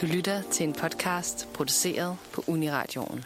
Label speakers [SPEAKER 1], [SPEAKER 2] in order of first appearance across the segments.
[SPEAKER 1] Du lytter til en podcast produceret på Uniradioen.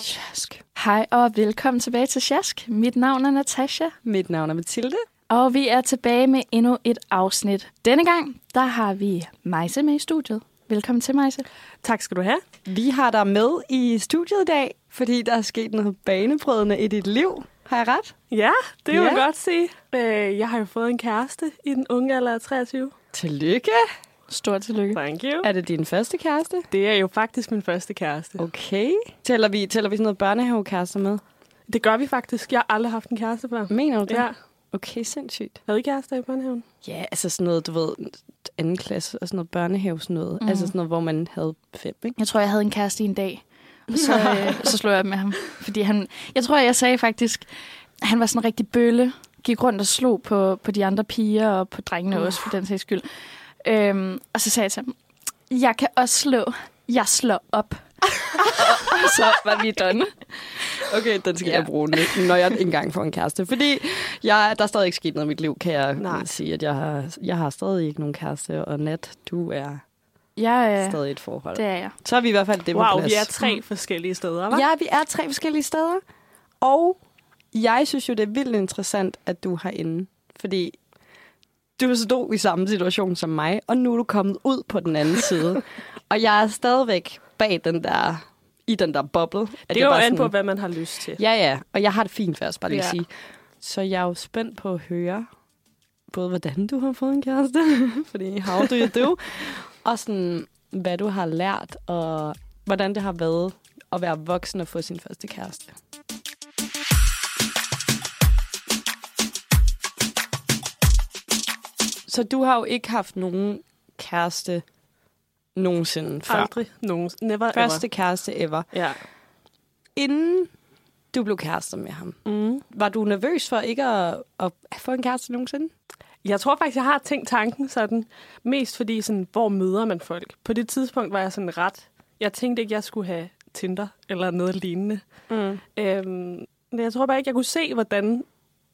[SPEAKER 2] Sjask.
[SPEAKER 3] Hej og velkommen tilbage til Sjask. Mit navn er Natasha,
[SPEAKER 2] Mit navn er Mathilde.
[SPEAKER 3] og vi er tilbage med endnu et afsnit. Denne gang, der har vi Majse med i studiet. Velkommen til, Majse.
[SPEAKER 2] Tak skal du have. Vi har dig med i studiet i dag, fordi der er sket noget banebrydende i dit liv. Har jeg ret?
[SPEAKER 4] Ja, det kan man
[SPEAKER 2] Ja.
[SPEAKER 4] godt sige. Øh, jeg har jo fået en kæreste i den unge alder af 23.
[SPEAKER 2] Tillykke.
[SPEAKER 3] Stort tillykke.
[SPEAKER 4] Thank you.
[SPEAKER 2] Er det din første kæreste?
[SPEAKER 4] Det er jo faktisk min første kæreste.
[SPEAKER 2] Okay. Tæller vi, tæller vi sådan noget børnehavekærester med?
[SPEAKER 4] Det gør vi faktisk. Jeg har aldrig haft en kæreste før.
[SPEAKER 2] Mener du det?
[SPEAKER 4] Ja,
[SPEAKER 2] Okay, sindssygt.
[SPEAKER 4] havde I kærester i børnehaven?
[SPEAKER 2] Ja, altså sådan noget, du ved, anden klasse og sådan noget børnehave sådan noget. Mm. Altså sådan noget, hvor man havde fem, ikke?
[SPEAKER 3] Jeg tror, jeg havde en kæreste i en dag, og så, øh, så slog jeg op med ham. Fordi han, jeg tror, jeg sagde faktisk, at han var sådan en rigtig bølle. Gik rundt og slog på, på de andre piger og på drengene også, for den sags skyld. Øhm, og så sagde jeg til ham, jeg kan også slå. Jeg slår op. og så var vi done.
[SPEAKER 2] Okay, den skal
[SPEAKER 3] Ja.
[SPEAKER 2] jeg bruge, nu, når jeg ikke engang får en kæreste. Fordi jeg, der er stadig ikke sket noget i mit liv, kan jeg
[SPEAKER 4] Nej.
[SPEAKER 2] Nej. sige, at jeg har, jeg har stadig ikke nogen kæreste. Og Nat, du er
[SPEAKER 3] Jeg,
[SPEAKER 2] ja.
[SPEAKER 3] øh,
[SPEAKER 2] stadig i et forhold.
[SPEAKER 3] det
[SPEAKER 2] Det.
[SPEAKER 3] er jeg.
[SPEAKER 2] Så er vi i hvert fald det på
[SPEAKER 4] Wow,
[SPEAKER 2] plads.
[SPEAKER 4] vi er tre forskellige steder, hva'?
[SPEAKER 2] Ja, vi er tre forskellige steder. Og jeg synes jo, det er vildt interessant, at du er herinde. Fordi du stod i samme situation som mig, og nu er du kommet ud på den anden side. og jeg er stadigvæk bag den der, i den der boble. At
[SPEAKER 4] Det
[SPEAKER 2] jeg
[SPEAKER 4] er jo
[SPEAKER 2] bare
[SPEAKER 4] an på, hvad man har lyst til.
[SPEAKER 2] Ja, ja. Og jeg har det fint først, bare lige ja.
[SPEAKER 4] Ja.
[SPEAKER 2] at sige. Så jeg er jo spændt på at høre, både hvordan du har fået en kæreste, fordi how do you do, og sådan, hvad du har lært, og hvordan det har været at være voksen og få sin første kæreste. Så du har jo ikke haft nogen kæreste nogensinde før.
[SPEAKER 4] Aldrig nogen. Never
[SPEAKER 2] Første kæreste ever
[SPEAKER 4] ever. Ja.
[SPEAKER 2] inden du blev kærester med ham,
[SPEAKER 4] Mm.
[SPEAKER 2] var du nervøs for ikke at, at få en kæreste nogensinde?
[SPEAKER 4] Jeg tror faktisk, jeg har tænkt tanken sådan, mest fordi, sådan, hvor møder man folk? På det tidspunkt var jeg sådan ret, jeg tænkte ikke, jeg skulle have Tinder eller noget lignende.
[SPEAKER 2] Mm.
[SPEAKER 4] Øhm, men jeg tror bare ikke, jeg kunne se, hvordan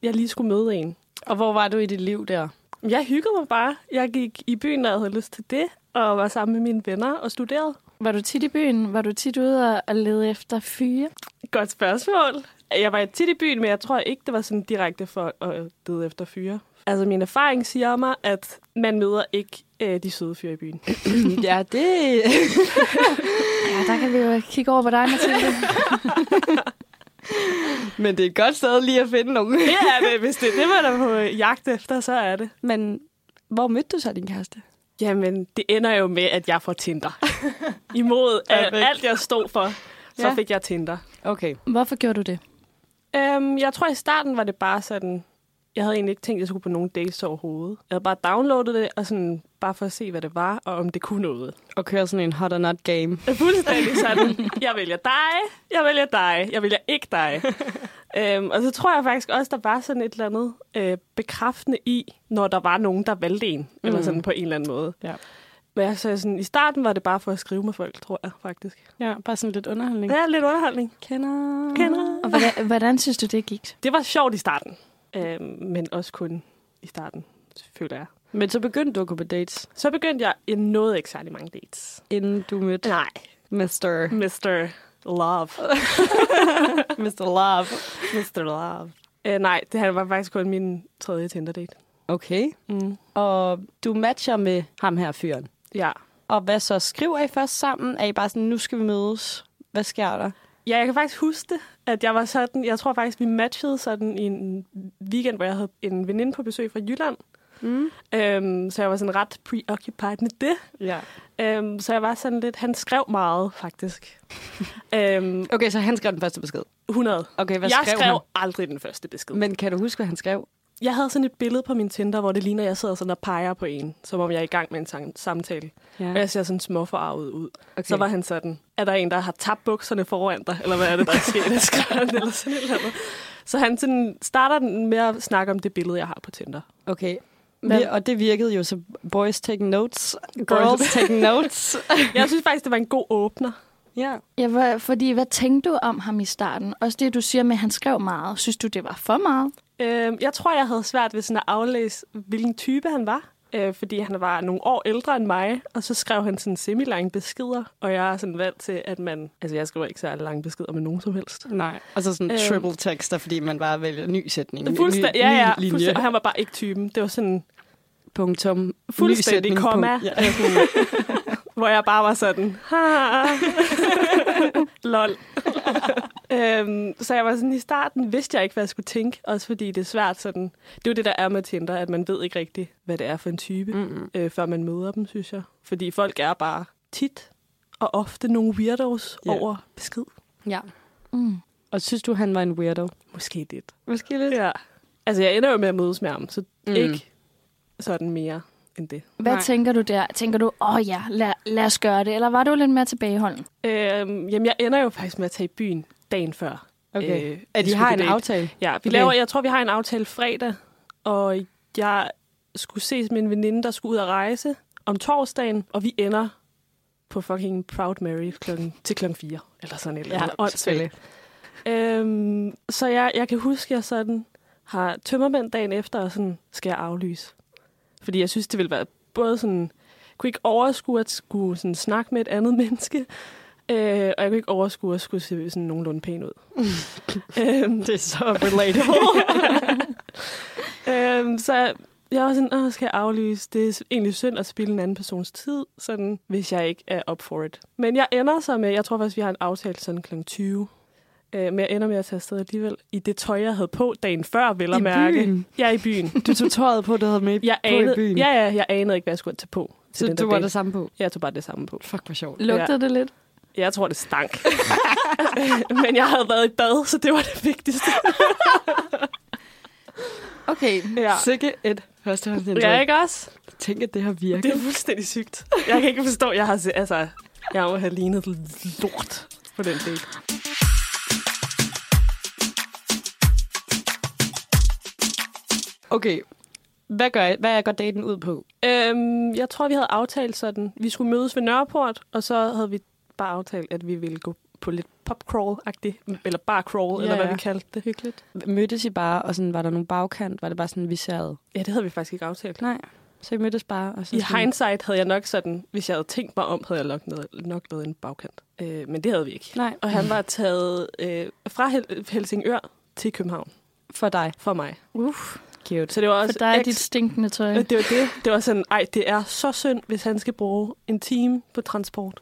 [SPEAKER 4] jeg lige skulle møde en.
[SPEAKER 2] Og hvor var du i dit liv der?
[SPEAKER 4] Jeg hyggede mig bare. Jeg gik i byen, når jeg havde lyst til det, og var sammen med mine venner og studerede.
[SPEAKER 3] Var du tit i byen? Var du tit ude og- og lede efter fyre?
[SPEAKER 4] Godt spørgsmål. Jeg var tit i byen, men jeg tror ikke, det var sådan direkte for at lede efter fyre. Altså, min erfaring siger mig, at man møder ikke øh, de søde fyre i byen.
[SPEAKER 2] ja, det...
[SPEAKER 3] Ja, der kan vi jo kigge over på dig, Mathilde.
[SPEAKER 2] Men det er et godt sted lige at finde nogen.
[SPEAKER 4] Det er det. Hvis det er det, man er på øh, jagt efter, så er det.
[SPEAKER 2] Men hvor mødte du så din kæreste?
[SPEAKER 4] Jamen, det ender jo med, at jeg får Tinder. Imod øh,
[SPEAKER 2] Perfekt.
[SPEAKER 4] alt, jeg stod for, så
[SPEAKER 2] Ja.
[SPEAKER 4] fik jeg Tinder.
[SPEAKER 2] Okay.
[SPEAKER 3] Hvorfor gjorde du det?
[SPEAKER 4] Øhm, jeg tror, i starten var det bare sådan... Jeg havde egentlig ikke tænkt, at jeg skulle på nogen dates overhovedet. Jeg havde bare downloadet det, og sådan bare for at se, hvad det var, og om det kunne noget.
[SPEAKER 2] Og køre sådan en hot or not game.
[SPEAKER 4] Fuldstændig sådan, jeg vælger dig, jeg vælger dig, jeg vælger ikke dig. øhm, og så tror jeg faktisk også, der var sådan et eller andet øh, bekræftende i, når der var nogen, der valgte en, mm. eller sådan på en eller anden måde.
[SPEAKER 2] Ja.
[SPEAKER 4] Men altså, sådan, i starten var det bare for at skrive med folk, tror jeg faktisk.
[SPEAKER 2] Ja, bare sådan lidt underholdning.
[SPEAKER 4] Ja, lidt underholdning.
[SPEAKER 2] Kender.
[SPEAKER 4] Kender.
[SPEAKER 3] Og hvordan, hvordan synes du, det gik?
[SPEAKER 4] Det var sjovt i starten, øhm, men også kun i starten, føler jeg.
[SPEAKER 2] Men så begyndte du at gå på dates,
[SPEAKER 4] Så begyndte jeg, jeg nåede ikke særlig mange dates.
[SPEAKER 2] inden du mødte
[SPEAKER 4] Nej.
[SPEAKER 2] Mr.
[SPEAKER 4] Mr. Love.
[SPEAKER 2] Mr. Love.
[SPEAKER 4] Mr. Love. Uh, nej, det her var faktisk kun min tredje Tinder-date.
[SPEAKER 2] Okay.
[SPEAKER 4] Mm.
[SPEAKER 2] Og du matcher med ham her fyren.
[SPEAKER 4] Ja.
[SPEAKER 2] Og hvad så? Skriver I først sammen? Er I bare sådan, nu skal vi mødes? Hvad sker der?
[SPEAKER 4] ja, jeg kan faktisk huske det, at jeg var sådan, jeg tror faktisk, vi matchede sådan i en weekend, hvor jeg havde en veninde på besøg fra Jylland.
[SPEAKER 2] Mm.
[SPEAKER 4] Øhm, så jeg var sådan ret preoccupied med det.
[SPEAKER 2] Ja.
[SPEAKER 4] Øhm, så jeg var sådan lidt, han skrev meget faktisk. øhm,
[SPEAKER 2] Okay, så han skrev den første besked.
[SPEAKER 4] 100.
[SPEAKER 2] Okay, hvad
[SPEAKER 4] jeg
[SPEAKER 2] skrev,
[SPEAKER 4] skrev aldrig den første besked.
[SPEAKER 2] han? Men kan du huske, hvad han skrev?
[SPEAKER 4] jeg havde sådan et billede på min Tinder, hvor det ligner, at jeg sidder sådan og peger på en, som om jeg er i gang med en sam- samtale. Og
[SPEAKER 2] Ja.
[SPEAKER 4] jeg ser sådan småforarvet ud.
[SPEAKER 2] Okay.
[SPEAKER 4] Okay. Så var han sådan, er der en, der har tabt bukserne foran dig? Eller hvad er det, der er sket? Skrev han, eller sådan et eller andet. Så han sådan starter den med at snakke om det billede, jeg har på Tinder.
[SPEAKER 2] Okay.
[SPEAKER 3] Hvad?
[SPEAKER 2] Vi, og det virkede jo så boys take notes, girls take notes.
[SPEAKER 4] Jeg synes faktisk, det var en god åbner.
[SPEAKER 2] ja.
[SPEAKER 3] Ja, hvad, fordi hvad tænkte du om ham i starten? Også det, du siger med, at han skrev meget. Synes du, det var for meget?
[SPEAKER 4] Øhm, jeg tror, jeg havde svært ved sådan at aflæse, hvilken type han var. Øh, fordi han var nogle år ældre end mig, og så skrev han sådan semi-lange beskeder. Og jeg er sådan vant til, at man... Altså, jeg skriver ikke særlig lange beskeder med nogen som helst.
[SPEAKER 2] Nej. Og så sådan
[SPEAKER 4] Øhm.
[SPEAKER 2] triple tekster, fordi man bare vælger ny sætning. ny-
[SPEAKER 4] Fuldstændig,
[SPEAKER 2] ny
[SPEAKER 4] ja, ja.
[SPEAKER 2] linje.
[SPEAKER 4] Fuldstændig. Og han var bare ikke typen. Det var sådan
[SPEAKER 2] Punktum.
[SPEAKER 4] fuldstændig
[SPEAKER 2] Nysætning,
[SPEAKER 4] komma.
[SPEAKER 2] punkt. Ja.
[SPEAKER 4] Øh, sådan, hvor jeg bare var sådan, "Ha." lol. øhm, så jeg var sådan, i starten vidste jeg ikke, hvad jeg skulle tænke. Også fordi det er svært sådan, det er jo det, der er med Tinder, at man ved ikke rigtigt, hvad det er for en type,
[SPEAKER 2] Mm-mm.
[SPEAKER 4] øh, før man møder dem, synes jeg. Fordi folk er bare tit og ofte nogle weirdos
[SPEAKER 2] Ja.
[SPEAKER 4] yeah. over besked.
[SPEAKER 2] ja.
[SPEAKER 3] Mm.
[SPEAKER 2] Og synes du, han var en weirdo?
[SPEAKER 4] Måske lidt.
[SPEAKER 2] Måske lidt.
[SPEAKER 4] Ja. Altså, jeg ender jo med at mødes med ham, så
[SPEAKER 2] Mm.
[SPEAKER 4] mm. ikke sådan mere end det.
[SPEAKER 3] Hvad
[SPEAKER 2] Nej.
[SPEAKER 3] tænker du der? Tænker du, åh oh ja, lad, lad os gøre det? Eller var du lidt mere tilbageholden?
[SPEAKER 4] Øhm, jamen, jeg ender jo faktisk med at tage i byen dagen før.
[SPEAKER 2] Okay. Øh,
[SPEAKER 4] vi
[SPEAKER 2] at de
[SPEAKER 4] skulle
[SPEAKER 2] har
[SPEAKER 4] på
[SPEAKER 2] en
[SPEAKER 4] date.
[SPEAKER 2] aftale?
[SPEAKER 4] Ja, vi
[SPEAKER 2] Okay.
[SPEAKER 4] okay. laver, jeg tror, vi har en aftale fredag, og jeg skulle ses med en veninde, der skulle ud at rejse om torsdagen, og vi ender på fucking Proud Mary klokken, til klokken 4, eller sådan et eller andet.
[SPEAKER 2] selvfølgelig.
[SPEAKER 4] Øhm, så jeg, jeg kan huske, at jeg sådan har tømmermænd dagen efter, og sådan skal jeg aflyse. Fordi jeg synes, det ville være både sådan... Jeg kunne ikke overskue at skulle sådan snakke med et andet menneske, øh, og jeg kunne ikke overskue at skulle se sådan nogenlunde pæn ud. øhm,
[SPEAKER 2] Det er så relatable.
[SPEAKER 4] øhm, så jeg- jeg var sådan, Åh, skal jeg aflyse? Det er egentlig synd at spille en anden persons tid, sådan, hvis jeg ikke er up for it. Men jeg ender så med, jeg tror faktisk, vi har en aftale sådan kl. 20. Øh, men jeg ender med at tage afsted alligevel i det tøj, jeg havde på dagen før, vel at
[SPEAKER 2] I
[SPEAKER 4] mærke.
[SPEAKER 2] byen?
[SPEAKER 4] Jeg er i byen.
[SPEAKER 2] du tog tøjet på, du havde med
[SPEAKER 4] Jeg
[SPEAKER 2] på i
[SPEAKER 4] anede,
[SPEAKER 2] byen.
[SPEAKER 4] ja, ja, jeg anede ikke, hvad jeg skulle tage på. Til
[SPEAKER 2] så
[SPEAKER 4] den
[SPEAKER 2] du
[SPEAKER 4] der
[SPEAKER 2] var
[SPEAKER 4] date.
[SPEAKER 2] det samme på.
[SPEAKER 4] Jeg tog bare det samme på.
[SPEAKER 2] Fuck, hvor sjovt.
[SPEAKER 3] Lugtede
[SPEAKER 4] Ja.
[SPEAKER 3] ja. det lidt?
[SPEAKER 4] Jeg tror, det stank. men jeg havde været i bad, så det var det vigtigste.
[SPEAKER 3] Okay.
[SPEAKER 4] Ja,
[SPEAKER 2] Sikke et førstehåndsindtryk.
[SPEAKER 4] ja ikke også?
[SPEAKER 2] Tænk, at det har virket.
[SPEAKER 4] Det er fuldstændig sygt. Jeg kan ikke forstå, jeg har se, altså, jeg må have lignet lort på den del.
[SPEAKER 2] Okay. Hvad, gør I? Hvad går daten ud på?
[SPEAKER 4] Øhm, jeg tror, vi havde aftalt sådan, vi skulle mødes ved Nørreport, og så havde vi bare aftalt, at vi ville gå på lidt popcrawl-agtigt, eller bare crawl,
[SPEAKER 2] Ja,
[SPEAKER 4] ja, eller hvad
[SPEAKER 2] ja.
[SPEAKER 4] vi kaldte det. Hyggeligt.
[SPEAKER 2] Mødtes I bare, og sådan, var der nogen bagkant? Var det bare sådan, vi særede?
[SPEAKER 4] Ja, det havde vi faktisk ikke aftalt.
[SPEAKER 2] Nej. Så I mødtes bare? Og så
[SPEAKER 4] I
[SPEAKER 2] sådan,
[SPEAKER 4] hindsight havde jeg nok sådan, hvis jeg havde tænkt mig om, havde jeg nok noget, nok noget en bagkant. Øh, men det havde vi ikke.
[SPEAKER 2] Nej,
[SPEAKER 4] Og han var taget øh, fra Hel- Helsingør til København
[SPEAKER 2] for dig.
[SPEAKER 4] for mig.
[SPEAKER 3] Uff.
[SPEAKER 2] Cute.
[SPEAKER 4] Så det var
[SPEAKER 3] For
[SPEAKER 4] også
[SPEAKER 3] dig er
[SPEAKER 4] ekstra-
[SPEAKER 3] dit stinkende tøj.
[SPEAKER 4] Men det var det. Det var sådan, ej, det er så synd, hvis han skal bruge en time på transport,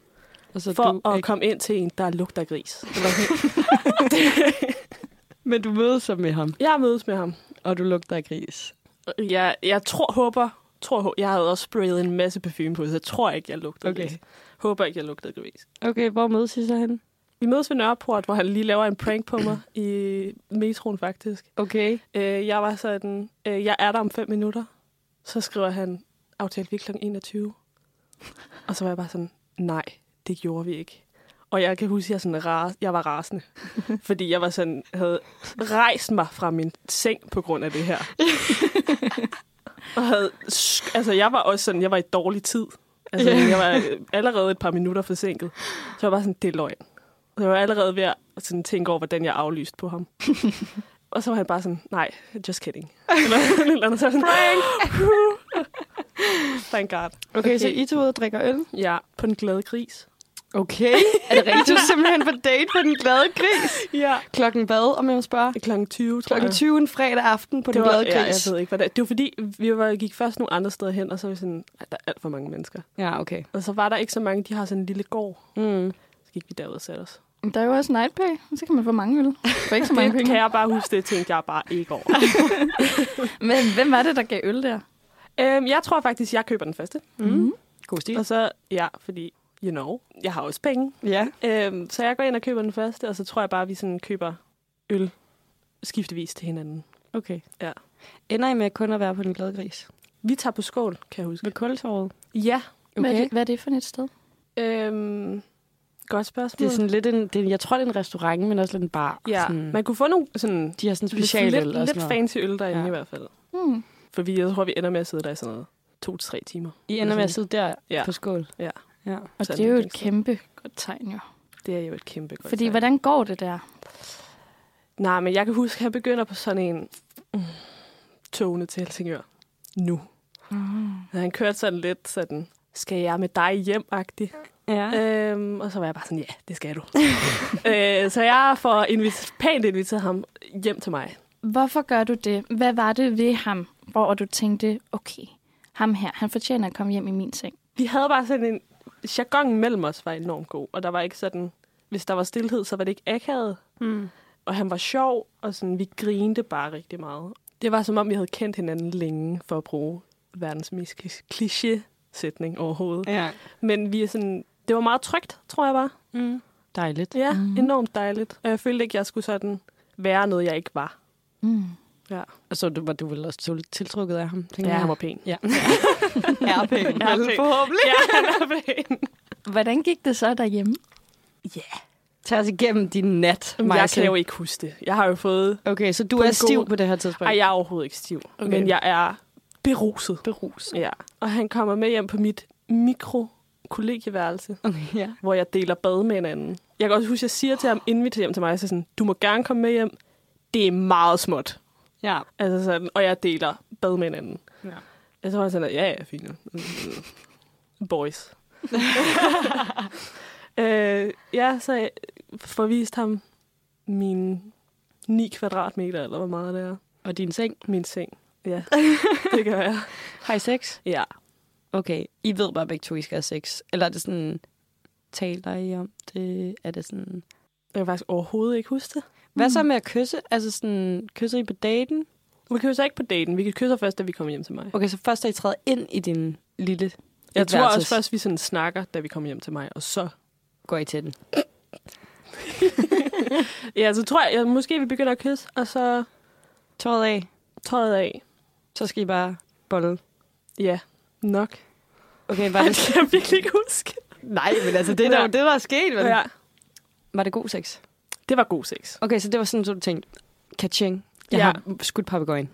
[SPEAKER 2] Og så
[SPEAKER 4] for
[SPEAKER 2] du,
[SPEAKER 4] at
[SPEAKER 2] ikke-
[SPEAKER 4] komme ind til en, der lugter af gris. Eller sådan.
[SPEAKER 2] Men du mødes så med ham,
[SPEAKER 4] jeg mødes med ham.
[SPEAKER 2] og du lugter af gris.
[SPEAKER 4] Jeg, jeg tror, håber, tror, hå- jeg havde også sprayet en masse parfume på, så jeg tror ikke, jeg lugter
[SPEAKER 2] Okay.
[SPEAKER 4] okay. gris. Håber ikke, jeg lugter gris.
[SPEAKER 2] Okay, hvor mødes I så hen?
[SPEAKER 4] Vi mødes ved Nørreport, hvor han lige laver en prank på mig i metroen faktisk.
[SPEAKER 2] Okay.
[SPEAKER 4] Øh, Jeg var sådan, øh, jeg er der om fem minutter. Så skriver han, aftalte vi kl. 21. Og så var jeg bare sådan, nej, det gjorde vi ikke. Og jeg kan huske, at jeg, sådan ras, jeg var rasende. Fordi jeg var sådan, havde rejst mig fra min seng på grund af det her. og havde, sk- altså jeg var også sådan, jeg var i dårlig tid. Altså
[SPEAKER 2] Ja.
[SPEAKER 4] jeg var øh, allerede et par minutter forsinket. Så jeg var bare sådan, det er løgn. Og jeg var allerede ved at sådan, tænke over, hvordan jeg aflyste på ham. og så var han bare sådan, nej, just kidding. Eller, eller andet, så var jeg sådan, Prank! Thank God.
[SPEAKER 2] Okay, okay, så I tog ud og drikker øl?
[SPEAKER 4] Ja, på den glade gris.
[SPEAKER 2] Okay. Er det rigtigt? Du er simpelthen på date på den glade gris. Øh.
[SPEAKER 4] Ja.
[SPEAKER 2] Klokken hvad, om jeg må spørge?
[SPEAKER 4] Klokken 20, tror
[SPEAKER 2] Klokken
[SPEAKER 4] jeg.
[SPEAKER 2] 20 en fredag aften på den
[SPEAKER 4] det var,
[SPEAKER 2] glade
[SPEAKER 4] ja, jeg
[SPEAKER 2] gris.
[SPEAKER 4] ved ikke, hvad det er. Det var fordi, vi var, gik først nogle andre steder hen, og så var vi sådan, "Ej, der er alt for mange mennesker.
[SPEAKER 2] ja okay.
[SPEAKER 4] Og så var der ikke så mange, de har sådan en lille gård.
[SPEAKER 2] Mm.
[SPEAKER 4] Så gik vi derud og satte os.
[SPEAKER 3] Der er jo også nightpay, så kan man få mange øl. For ikke så mange
[SPEAKER 4] Det kan
[SPEAKER 3] penge.
[SPEAKER 4] jeg bare huske, det tænkte jeg bare ikke over.
[SPEAKER 3] Men hvem var det, der gav øl der?
[SPEAKER 4] øhm, jeg tror faktisk, jeg køber den første.
[SPEAKER 2] Mm. God stil.
[SPEAKER 4] Og så, ja, fordi, you know, jeg har også penge.
[SPEAKER 2] Ja.
[SPEAKER 4] Øhm, så jeg går ind og køber den første, og så tror jeg bare, vi sådan køber øl skiftevis til hinanden.
[SPEAKER 2] Okay.
[SPEAKER 4] Ja.
[SPEAKER 2] Ender I med kun at være på den glade gris?
[SPEAKER 4] Vi tager på skål, kan jeg huske.
[SPEAKER 2] Ved kultorvet?
[SPEAKER 4] Ja.
[SPEAKER 2] Okay.
[SPEAKER 3] Hvad, er det,
[SPEAKER 2] det,
[SPEAKER 3] hvad er det for et sted?
[SPEAKER 4] Øhm, godt spørgsmål.
[SPEAKER 2] det er sådan lidt en, det er, jeg tror, det er en restaurant, men også lidt en bar.
[SPEAKER 4] ja.
[SPEAKER 2] Sådan,
[SPEAKER 4] Man kunne få nogle sådan,
[SPEAKER 2] de har sådan
[SPEAKER 4] lidt,
[SPEAKER 2] special
[SPEAKER 4] lidt, lidt
[SPEAKER 2] fan.
[SPEAKER 4] fancy øl derinde ja.
[SPEAKER 2] Ja.
[SPEAKER 4] i hvert fald.
[SPEAKER 3] Hmm.
[SPEAKER 4] For vi, jeg tror, vi ender med at sidde der i sådan noget to til tre timer.
[SPEAKER 2] I ender med at sidde der
[SPEAKER 4] Ja.
[SPEAKER 2] ja. på skål.
[SPEAKER 4] Ja.
[SPEAKER 2] ja.
[SPEAKER 3] Og
[SPEAKER 4] Sådan
[SPEAKER 3] det er jo
[SPEAKER 4] et
[SPEAKER 3] et
[SPEAKER 4] sted.
[SPEAKER 3] kæmpe godt tegn, jo.
[SPEAKER 4] Det er jo et kæmpe godt
[SPEAKER 3] Fordi
[SPEAKER 4] tegn.
[SPEAKER 3] hvordan går det der?
[SPEAKER 4] Nej, men jeg kan huske, at jeg begynder på sådan en mm, togene til Helsingør. Nu. Mm. Han kørte sådan lidt sådan, skal jeg med dig hjem -agtig.
[SPEAKER 2] ja.
[SPEAKER 4] Øhm, og så var jeg bare sådan, ja, det skal du. øh, så jeg får invit- pænt inviteret ham hjem til mig.
[SPEAKER 3] Hvorfor gør du det? Hvad var det ved ham, hvor du tænkte, okay, ham her, han fortjener at komme hjem i min seng?
[SPEAKER 4] Vi havde bare sådan en... Jargonen mellem os var enormt god, og der var ikke sådan... Hvis der var stillhed, så var det ikke akavet.
[SPEAKER 2] Mm.
[SPEAKER 4] Og han var sjov, og sådan, vi grinte bare rigtig meget. Det var som om, vi havde kendt hinanden længe for at bruge verdens mest klis- kliché-sætning overhovedet.
[SPEAKER 2] ja.
[SPEAKER 4] Men vi er sådan, det var meget trygt, tror jeg bare.
[SPEAKER 2] Mm. Dejligt.
[SPEAKER 4] Ja,
[SPEAKER 3] Mhm.
[SPEAKER 4] mm. enormt dejligt. Og jeg følte ikke, jeg skulle sådan være noget, jeg ikke var.
[SPEAKER 3] Mm.
[SPEAKER 2] Og så du, var du vel også til- tiltrukket af ham, tænker
[SPEAKER 4] Ja.
[SPEAKER 2] jeg.
[SPEAKER 4] Han var pæn.
[SPEAKER 2] Ja. er pæn.
[SPEAKER 4] Er pæn.
[SPEAKER 2] Forhåbentlig.
[SPEAKER 4] Ja, han er pæn.
[SPEAKER 3] Hvordan gik det så derhjemme?
[SPEAKER 2] Tag os igennem din nat, Maja.
[SPEAKER 4] Jeg kan jo ikke huske det. Jeg har jo fået...
[SPEAKER 2] Okay, så du
[SPEAKER 4] På
[SPEAKER 2] er
[SPEAKER 4] en
[SPEAKER 2] stiv
[SPEAKER 4] god-
[SPEAKER 2] på det her tidspunkt.
[SPEAKER 4] Ej, jeg er overhovedet ikke stiv. Okay. Men jeg er beruset.
[SPEAKER 2] berus.
[SPEAKER 4] Ja. Og han kommer med hjem på mit mikrokollegieværelse,
[SPEAKER 2] Okay, ja.
[SPEAKER 4] hvor jeg deler bad med hinanden. Jeg kan også huske, at jeg siger til ham, inden vi tager hjem til mig, så sådan, du må gerne komme med hjem. Det er meget småt.
[SPEAKER 2] ja.
[SPEAKER 4] Altså sådan, og jeg deler bad med hinanden.
[SPEAKER 2] Ja.
[SPEAKER 4] Jeg tror, han sådan, ja, ja, fint. nok." Boys. øh, ja, så jeg forviste ham mine 9 kvadratmeter, eller hvor meget det er.
[SPEAKER 2] Og din seng?
[SPEAKER 4] Min seng. Ja, det gør jeg.
[SPEAKER 2] Har I sex?
[SPEAKER 4] Ja.
[SPEAKER 2] Okay. I ved bare begge to, I skal have sex. Eller er det sådan, taler I om det? Er det sådan...
[SPEAKER 4] Jeg kan faktisk overhovedet ikke huske det.
[SPEAKER 2] Hvad
[SPEAKER 3] Mm.
[SPEAKER 2] så med at kysse? Altså sådan, kysser I på daten?
[SPEAKER 4] Vi kysser ikke på daten. Vi kan kysse først, da vi kommer hjem til mig.
[SPEAKER 2] Okay, så først er I træder ind i din lille...
[SPEAKER 4] Jeg
[SPEAKER 2] et
[SPEAKER 4] tror
[SPEAKER 2] værelses-
[SPEAKER 4] også først, vi sådan snakker, da vi kommer hjem til mig. Og så...
[SPEAKER 2] Går I til den?
[SPEAKER 4] Ja, så tror jeg, jeg måske vi begynder at kysse, og så
[SPEAKER 2] Tåret af.
[SPEAKER 4] tøjet af.
[SPEAKER 2] Så skal I bare bolle.
[SPEAKER 4] Ja, nok.
[SPEAKER 2] Okay, var
[SPEAKER 4] Ej,
[SPEAKER 2] det...
[SPEAKER 4] det kan jeg virkelig ikke huske.
[SPEAKER 2] Nej, men altså, det er
[SPEAKER 4] Ja.
[SPEAKER 2] jo det, der er sket. vel?
[SPEAKER 4] Ja.
[SPEAKER 2] Var det god sex?
[SPEAKER 4] Det var god sex.
[SPEAKER 2] Okay, så det var sådan, så du tænkte, kaching, jeg
[SPEAKER 4] Ja.
[SPEAKER 2] ja. har skudt papegøjen.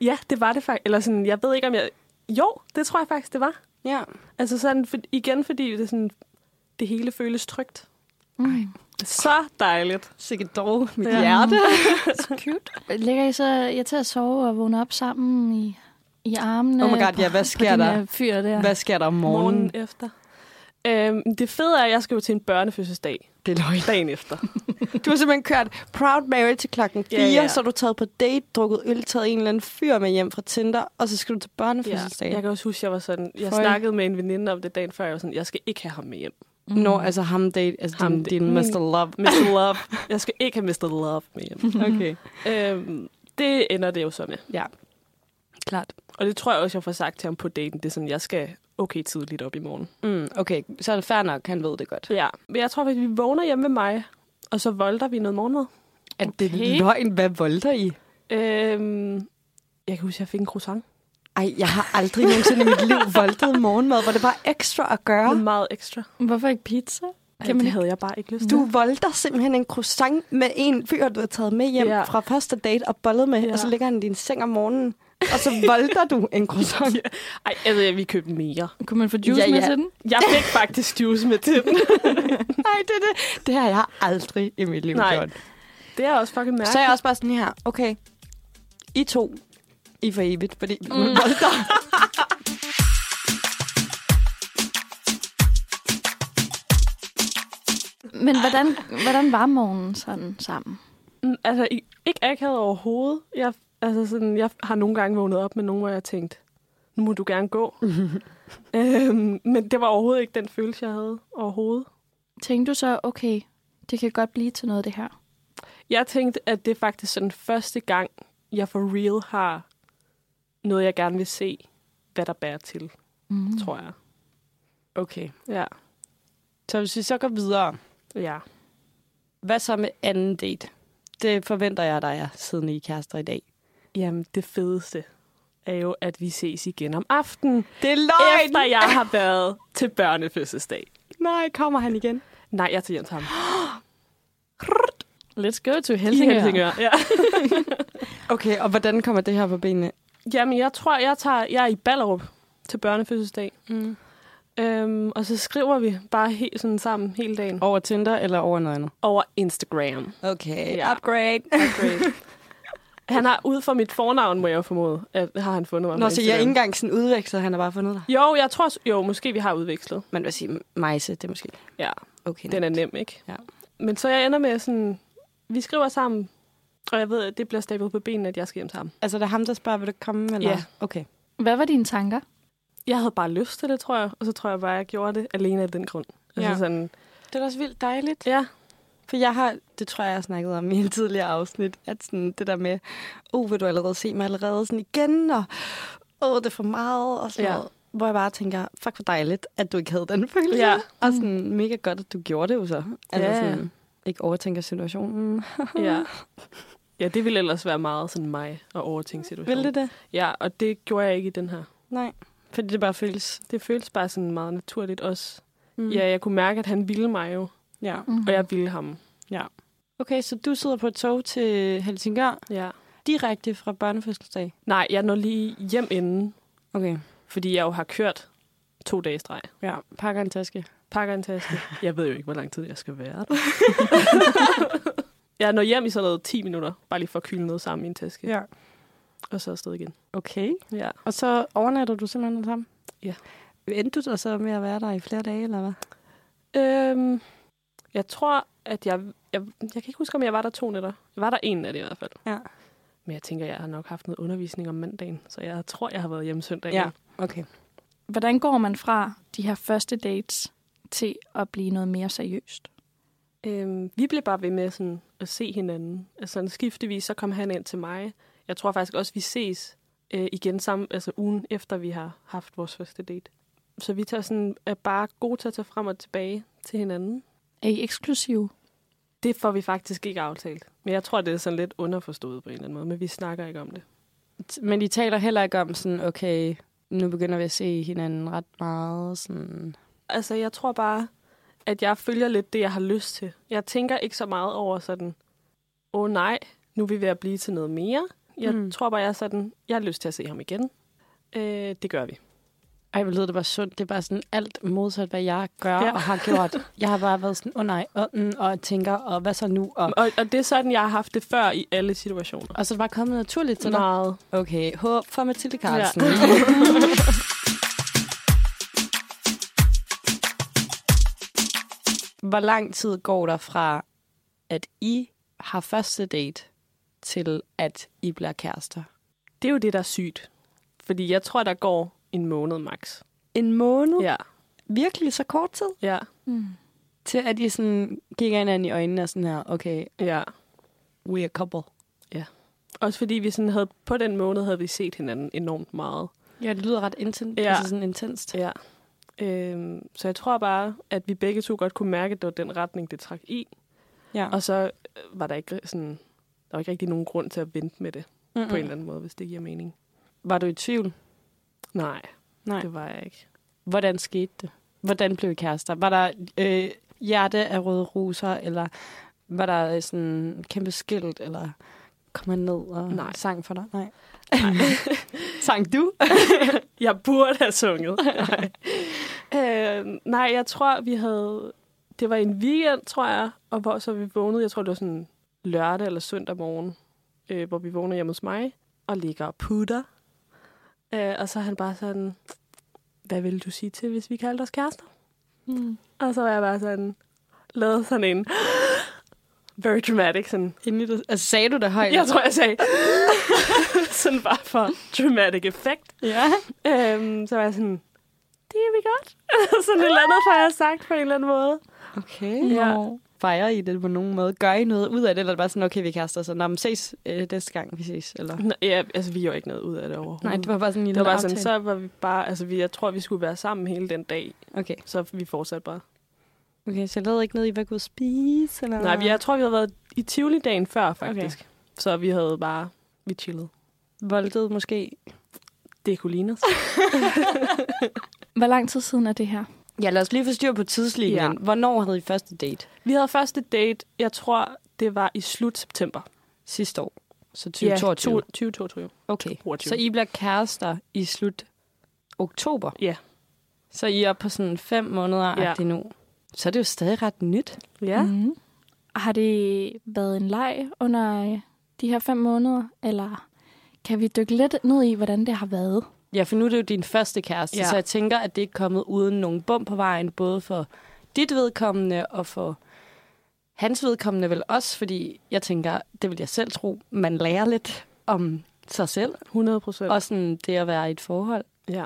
[SPEAKER 4] Ja, det var det faktisk. Eller sådan, jeg ved ikke om jeg... Jo, det tror jeg faktisk, det var.
[SPEAKER 2] Ja.
[SPEAKER 4] Altså sådan, for, igen, fordi det, sådan, det hele føles trygt.
[SPEAKER 3] Mm.
[SPEAKER 4] Så dejligt.
[SPEAKER 2] Sikke dog, mit
[SPEAKER 4] Ja.
[SPEAKER 2] ja. hjerte.
[SPEAKER 3] Cute. Lægger I så jeg til at sove og vågne op sammen i, i armene?
[SPEAKER 2] Oh my god,
[SPEAKER 3] på-
[SPEAKER 2] ja, hvad sker
[SPEAKER 3] på din,
[SPEAKER 2] der?
[SPEAKER 3] øh, fyr der?
[SPEAKER 2] Hvad sker der om morgenen?
[SPEAKER 4] Morgen efter. Øhm, det fede er, at jeg skal jo til en børnefødselsdag
[SPEAKER 2] Det er løgn.
[SPEAKER 4] dagen efter.
[SPEAKER 2] Du har simpelthen kørt Proud Mary til klokken 4, ja,
[SPEAKER 4] ja.
[SPEAKER 2] ja. så har du taget på date, drukket øl, taget en eller anden fyr med hjem fra Tinder, og så skal du til børnefødselsdag.
[SPEAKER 4] Ja, jeg kan også huske, jeg var sådan, jeg
[SPEAKER 2] Føj.
[SPEAKER 4] snakkede med en veninde om det dagen før, jeg var sådan, jeg skal ikke have ham med hjem.
[SPEAKER 2] Mm. Nå, altså ham date, altså
[SPEAKER 4] Ham
[SPEAKER 2] ham din,
[SPEAKER 4] date.
[SPEAKER 2] din Mr. Love.
[SPEAKER 4] Mr. Love. Jeg skal ikke have Mr. Love med hjem.
[SPEAKER 2] Okay.
[SPEAKER 4] øhm, det ender det jo så med.
[SPEAKER 2] Ja. Klart.
[SPEAKER 4] Og det tror jeg også, jeg får sagt til ham på daten. Det er sådan, jeg skal okay tidligt op i morgen.
[SPEAKER 2] Mm, okay, så er det fair nok, han ved det godt.
[SPEAKER 4] Ja, men jeg tror faktisk, vi vågner hjemme ved mig, og så volder vi noget morgenmad.
[SPEAKER 2] At det
[SPEAKER 3] Okay.
[SPEAKER 2] er løgn, hvad volder I?
[SPEAKER 4] Øhm, jeg kan huske, at jeg fik en croissant.
[SPEAKER 2] Ej, jeg har aldrig nogensinde i mit liv voldtaget morgenmad, hvor det bare ekstra at gøre.
[SPEAKER 4] Med meget ekstra.
[SPEAKER 3] Hvorfor ikke pizza?
[SPEAKER 4] Ej, det havde jeg bare ikke lyst til.
[SPEAKER 2] Du volder simpelthen en croissant med en fyr, du har taget med hjem
[SPEAKER 4] Ja.
[SPEAKER 2] ja. fra første date og bollet med,
[SPEAKER 4] Ja.
[SPEAKER 2] ja. og så ligger han i din seng om morgenen, og så volder du en croissant. Ja.
[SPEAKER 4] Ej, altså, jeg ville købe mere.
[SPEAKER 3] Kunne man få juice
[SPEAKER 2] Ja,
[SPEAKER 3] med
[SPEAKER 2] ja.
[SPEAKER 3] til den?
[SPEAKER 4] Jeg fik faktisk juice med til den.
[SPEAKER 2] Nej, det, det, det har jeg aldrig i mit liv
[SPEAKER 4] Nej.
[SPEAKER 2] Nej. gjort.
[SPEAKER 4] Det er også fucking mærkeligt.
[SPEAKER 2] Så er jeg også bare sådan her, okay, I to, I for evigt, fordi mm. man volder.
[SPEAKER 3] Men hvordan, hvordan var morgenen sådan sammen?
[SPEAKER 4] Mm, Altså, i- ikke akavet overhovedet. Jeg, altså sådan, jeg har nogle gange vågnet op med nogen, hvor jeg har tænkt, nu må du gerne gå. øhm, men det var overhovedet ikke den følelse, jeg havde overhovedet.
[SPEAKER 3] Tænkte du så, okay, det kan godt blive til noget det her?
[SPEAKER 4] Jeg tænkte, at det er faktisk sådan første gang, jeg for real har noget, jeg gerne vil se, hvad der bærer til, mm.
[SPEAKER 3] Mm.
[SPEAKER 4] tror jeg.
[SPEAKER 2] Okay,
[SPEAKER 4] Ja.
[SPEAKER 2] så hvis vi så går videre,
[SPEAKER 4] ja.
[SPEAKER 2] hvad så med anden date? Det forventer jeg, der er, siden I er kærester i dag.
[SPEAKER 4] Jamen, det fedeste er jo, at vi ses igen om aftenen,
[SPEAKER 2] Det er løgn!
[SPEAKER 4] efter jeg har været til børnefødselsdag.
[SPEAKER 2] Nej, kommer han igen?
[SPEAKER 4] Nej, jeg tager hjem til ham.
[SPEAKER 3] Let's go to
[SPEAKER 4] I
[SPEAKER 3] Helsingør.
[SPEAKER 4] Helsingør. Ja.
[SPEAKER 2] Okay, og hvordan kommer det her på benene?
[SPEAKER 4] Jamen, jeg tror, jeg tager... Jeg er i Ballerup til børnefødselsdag.
[SPEAKER 2] Mm.
[SPEAKER 4] Øhm, og så skriver vi bare helt sådan sammen hele dagen
[SPEAKER 2] Over Tinder eller over noget andet?
[SPEAKER 4] over Instagram.
[SPEAKER 2] Okay,
[SPEAKER 4] Ja.
[SPEAKER 2] upgrade.
[SPEAKER 4] Han har ud fra mit fornavn, må jeg jo formode, at har han fundet mig.
[SPEAKER 2] Nå,
[SPEAKER 4] på
[SPEAKER 2] så jeg
[SPEAKER 4] Instagram.
[SPEAKER 2] er ikke engang sådan udvekslet, han har bare fundet dig.
[SPEAKER 4] Jo, jeg tror... s- Jo, måske vi har udvekslet.
[SPEAKER 2] Men hvad siger Majse, det er måske
[SPEAKER 4] Ja,
[SPEAKER 2] okay.
[SPEAKER 4] den er nem, ikke?
[SPEAKER 2] Ja.
[SPEAKER 4] Men så jeg ender med sådan... Vi skriver sammen, og jeg ved, at det bliver stablet på benene, at jeg skal hjem til ham.
[SPEAKER 2] Altså, det er ham, der spørger, vil du komme? Eller?
[SPEAKER 4] Ja.
[SPEAKER 2] Okay.
[SPEAKER 3] Hvad var dine tanker?
[SPEAKER 4] Jeg havde bare lyst til det, tror jeg. Og så tror jeg bare, at jeg gjorde det alene af den grund. Altså
[SPEAKER 2] Ja.
[SPEAKER 4] sådan...
[SPEAKER 2] Det er da også vildt dejligt.
[SPEAKER 4] Ja,
[SPEAKER 2] For jeg har, det tror jeg, jeg har snakket om i en tidligere afsnit, at sådan det der med, oh, vil du allerede se mig allerede sådan igen, og åh, oh, det er for meget, og sådan
[SPEAKER 4] Ja.
[SPEAKER 2] ja. noget. Hvor jeg bare tænker, fuck hvor dejligt, at du ikke havde den følelse.
[SPEAKER 4] Ja.
[SPEAKER 2] Og sådan mega godt, at du gjorde det jo så. Altså
[SPEAKER 4] Ja.
[SPEAKER 2] ja. sådan, ikke overtænker situationen.
[SPEAKER 4] ja. Ja, det ville ellers være meget sådan mig at overtænke situationen.
[SPEAKER 2] Vil det det?
[SPEAKER 4] Ja, og det gjorde jeg ikke i den her.
[SPEAKER 2] Nej. Fordi det bare føles...
[SPEAKER 4] Det føles bare sådan meget naturligt også.
[SPEAKER 2] Mm.
[SPEAKER 4] Mm. Ja, jeg kunne mærke, at han ville mig jo,
[SPEAKER 2] ja.
[SPEAKER 3] Mm.
[SPEAKER 4] og jeg ville ham.
[SPEAKER 2] Okay, så du sidder på et tog til Helsingør,
[SPEAKER 4] Ja.
[SPEAKER 2] direkte fra børnefødselsdag.
[SPEAKER 4] Nej, jeg når lige hjem inden,
[SPEAKER 2] Okay.
[SPEAKER 4] fordi jeg jo har kørt to dage i streg.
[SPEAKER 2] Ja, pakker en taske.
[SPEAKER 4] Pakker en taske. Jeg ved jo ikke, hvor lang tid jeg skal være der. jeg når hjem i sådan noget 10 minutter, bare lige for at kyle noget sammen i en taske.
[SPEAKER 2] Ja.
[SPEAKER 4] Og så afsted igen.
[SPEAKER 2] Okay.
[SPEAKER 4] Ja.
[SPEAKER 2] Og så overnatter du simpelthen hos ham?
[SPEAKER 4] Ja.
[SPEAKER 2] Endte du der så med at være der i flere dage, eller hvad?
[SPEAKER 4] Øhm, jeg tror, at jeg, jeg... Jeg kan ikke huske, om jeg var der to nætter. Jeg var der en af det i hvert fald.
[SPEAKER 2] Ja.
[SPEAKER 4] Men jeg tænker, jeg har nok haft noget undervisning om mandagen, så jeg tror, jeg har været hjemme søndag.
[SPEAKER 2] okay.
[SPEAKER 3] Hvordan går man fra de her første dates til at blive noget mere seriøst?
[SPEAKER 4] Øhm, vi blev bare ved med sådan, at se hinanden. Altså sådan, skiftevis, så kom han ind til mig. Jeg tror faktisk også, vi ses øh, igen sammen, altså ugen efter vi har haft vores første date. Så vi tager sådan, er bare gode til at tage frem og tilbage til hinanden.
[SPEAKER 3] Er I eksklusive?
[SPEAKER 4] Det får vi faktisk ikke aftalt. Men jeg tror, det er sådan lidt underforstået på en eller anden måde, men vi snakker ikke om det.
[SPEAKER 2] Men de taler heller ikke om sådan, okay, nu begynder vi at se hinanden ret meget. Sådan.
[SPEAKER 4] Altså, jeg tror bare, at jeg følger lidt det, jeg har lyst til. Jeg tænker ikke så meget over sådan, åh oh, nej, nu er vi ved at blive til noget mere. Jeg mm.
[SPEAKER 2] Mm.
[SPEAKER 4] tror bare, jeg er sådan, jeg har lyst til at se ham igen. Øh, det gør vi.
[SPEAKER 2] Ej, hvor lyder det bare sundt. Det er bare sådan alt modsat, hvad jeg gør
[SPEAKER 4] Ja.
[SPEAKER 2] ja. og har gjort. Jeg har bare været sådan, åh oh, nej, og, mm, og tænker, og hvad så nu? Og,
[SPEAKER 4] Og, og det er sådan, jeg har haft det før i alle situationer.
[SPEAKER 2] og så er det bare kommet naturligt til dig.
[SPEAKER 4] Meget.
[SPEAKER 2] Okay, håb for Mathilde Carlsen.
[SPEAKER 4] Carlsen.
[SPEAKER 2] Ja. Hvor lang tid går der fra, at I har første date, til at I bliver kærester?
[SPEAKER 4] Det er jo det, der er sygt. Fordi jeg tror, der går en måned max.
[SPEAKER 2] En måned?
[SPEAKER 4] Ja.
[SPEAKER 2] Virkelig så kort tid?
[SPEAKER 4] Ja.
[SPEAKER 3] Mm.
[SPEAKER 2] Til at I sådan kigger hinanden i øjnene og sådan her, okay,
[SPEAKER 4] Ja.
[SPEAKER 2] we are a couple.
[SPEAKER 4] Også fordi vi sådan havde, på den måned havde vi set hinanden enormt meget.
[SPEAKER 2] Ja, det lyder ret intens,
[SPEAKER 4] Ja.
[SPEAKER 2] ja. altså sådan intenst.
[SPEAKER 4] Ja. Øhm, så jeg tror bare, at vi begge to godt kunne mærke, at det var den retning, det trak i.
[SPEAKER 2] Ja.
[SPEAKER 4] Og så øh, var der ikke sådan, der var ikke rigtig nogen grund til at vente med det mm. på en eller anden måde, hvis det giver mening.
[SPEAKER 2] Var du i tvivl?
[SPEAKER 4] Nej,
[SPEAKER 2] Nej.
[SPEAKER 4] det var jeg ikke.
[SPEAKER 2] Hvordan skete det? Hvordan blev I kærester? Var der øh, hjerte af røde roser, eller var der øh, sådan kæmpe skilt, eller kom han ned og
[SPEAKER 4] Nej.
[SPEAKER 2] Nej. sang for dig? Nej. sang du?
[SPEAKER 4] Jeg burde have sunget. nej. Øh, nej, jeg tror, vi havde... Det var en weekend, tror jeg, og hvor så vi vågnede, jeg tror, det var sådan lørdag eller søndag morgen, øh, hvor vi vågnede hjemme hos mig og ligger og putter. Øh, og så er han bare sådan, hvad ville du sige til, hvis vi kaldte os kærester?
[SPEAKER 3] Mm.
[SPEAKER 4] Og så var jeg bare sådan, lavet sådan en very dramatic, sådan,
[SPEAKER 2] Inden du, altså, sagde du det højt?
[SPEAKER 4] jeg tror, jeg sagde, sådan bare for dramatic effect.
[SPEAKER 2] Ja.
[SPEAKER 4] Øhm, så var jeg sådan, det er vi godt. sådan et eller andet, får jeg sagt på en eller anden måde.
[SPEAKER 2] Okay.
[SPEAKER 4] Ja.
[SPEAKER 2] Nå. Fejrer I det på nogen måde? Gør I noget ud af det, eller er det bare sådan, okay, vi er kærester, så nå, men ses øh, næste gang, vi ses? Eller?
[SPEAKER 4] Nå, ja, altså, vi gjorde ikke noget ud af det overhovedet.
[SPEAKER 2] Nej, det var bare sådan en lille
[SPEAKER 4] det var bare sådan,
[SPEAKER 2] aftale.
[SPEAKER 4] så var vi bare, altså vi, jeg tror, vi skulle være sammen hele den dag,
[SPEAKER 2] Okay.
[SPEAKER 4] så vi fortsatte bare.
[SPEAKER 2] okay, så jeg lavede ikke noget, I var gået spise? Eller?
[SPEAKER 4] Ah. Nej, vi, jeg tror, vi havde været i Tivoli dagen før, faktisk. Okay. Så vi havde bare, vi chillede.
[SPEAKER 2] Voldtet måske.
[SPEAKER 4] Det kunne ligne os.
[SPEAKER 3] Hvor lang tid siden er det her?
[SPEAKER 2] Ja, lad os lige få styr på tidslinjen. Ja. Hvornår havde I første date?
[SPEAKER 4] Vi havde første date, jeg tror, det var i slut september.
[SPEAKER 2] Sidste år. Så
[SPEAKER 4] Ja,
[SPEAKER 2] 2022.
[SPEAKER 4] to- 2022.
[SPEAKER 2] Okay,
[SPEAKER 4] 22.
[SPEAKER 2] så I bliver kærester i slut oktober.
[SPEAKER 4] Ja.
[SPEAKER 2] Så I er på sådan fem måneder ja.
[SPEAKER 4] Ja.
[SPEAKER 2] nu. Så er det jo stadig ret nyt.
[SPEAKER 4] Ja. Mm.
[SPEAKER 3] Mm. Har det været en leg under de her fem måneder, eller kan vi dykke lidt ned i, hvordan det har været?
[SPEAKER 2] Ja, for nu er det jo din første kæreste, ja.
[SPEAKER 4] Ja.
[SPEAKER 2] så jeg tænker, at det er kommet uden nogen bum på vejen, både for dit vedkommende og for hans vedkommende vel også, fordi jeg tænker, det vil jeg selv tro, man lærer lidt om sig selv,
[SPEAKER 4] 100 procent.
[SPEAKER 2] og sådan det at være i et forhold.
[SPEAKER 4] Ja.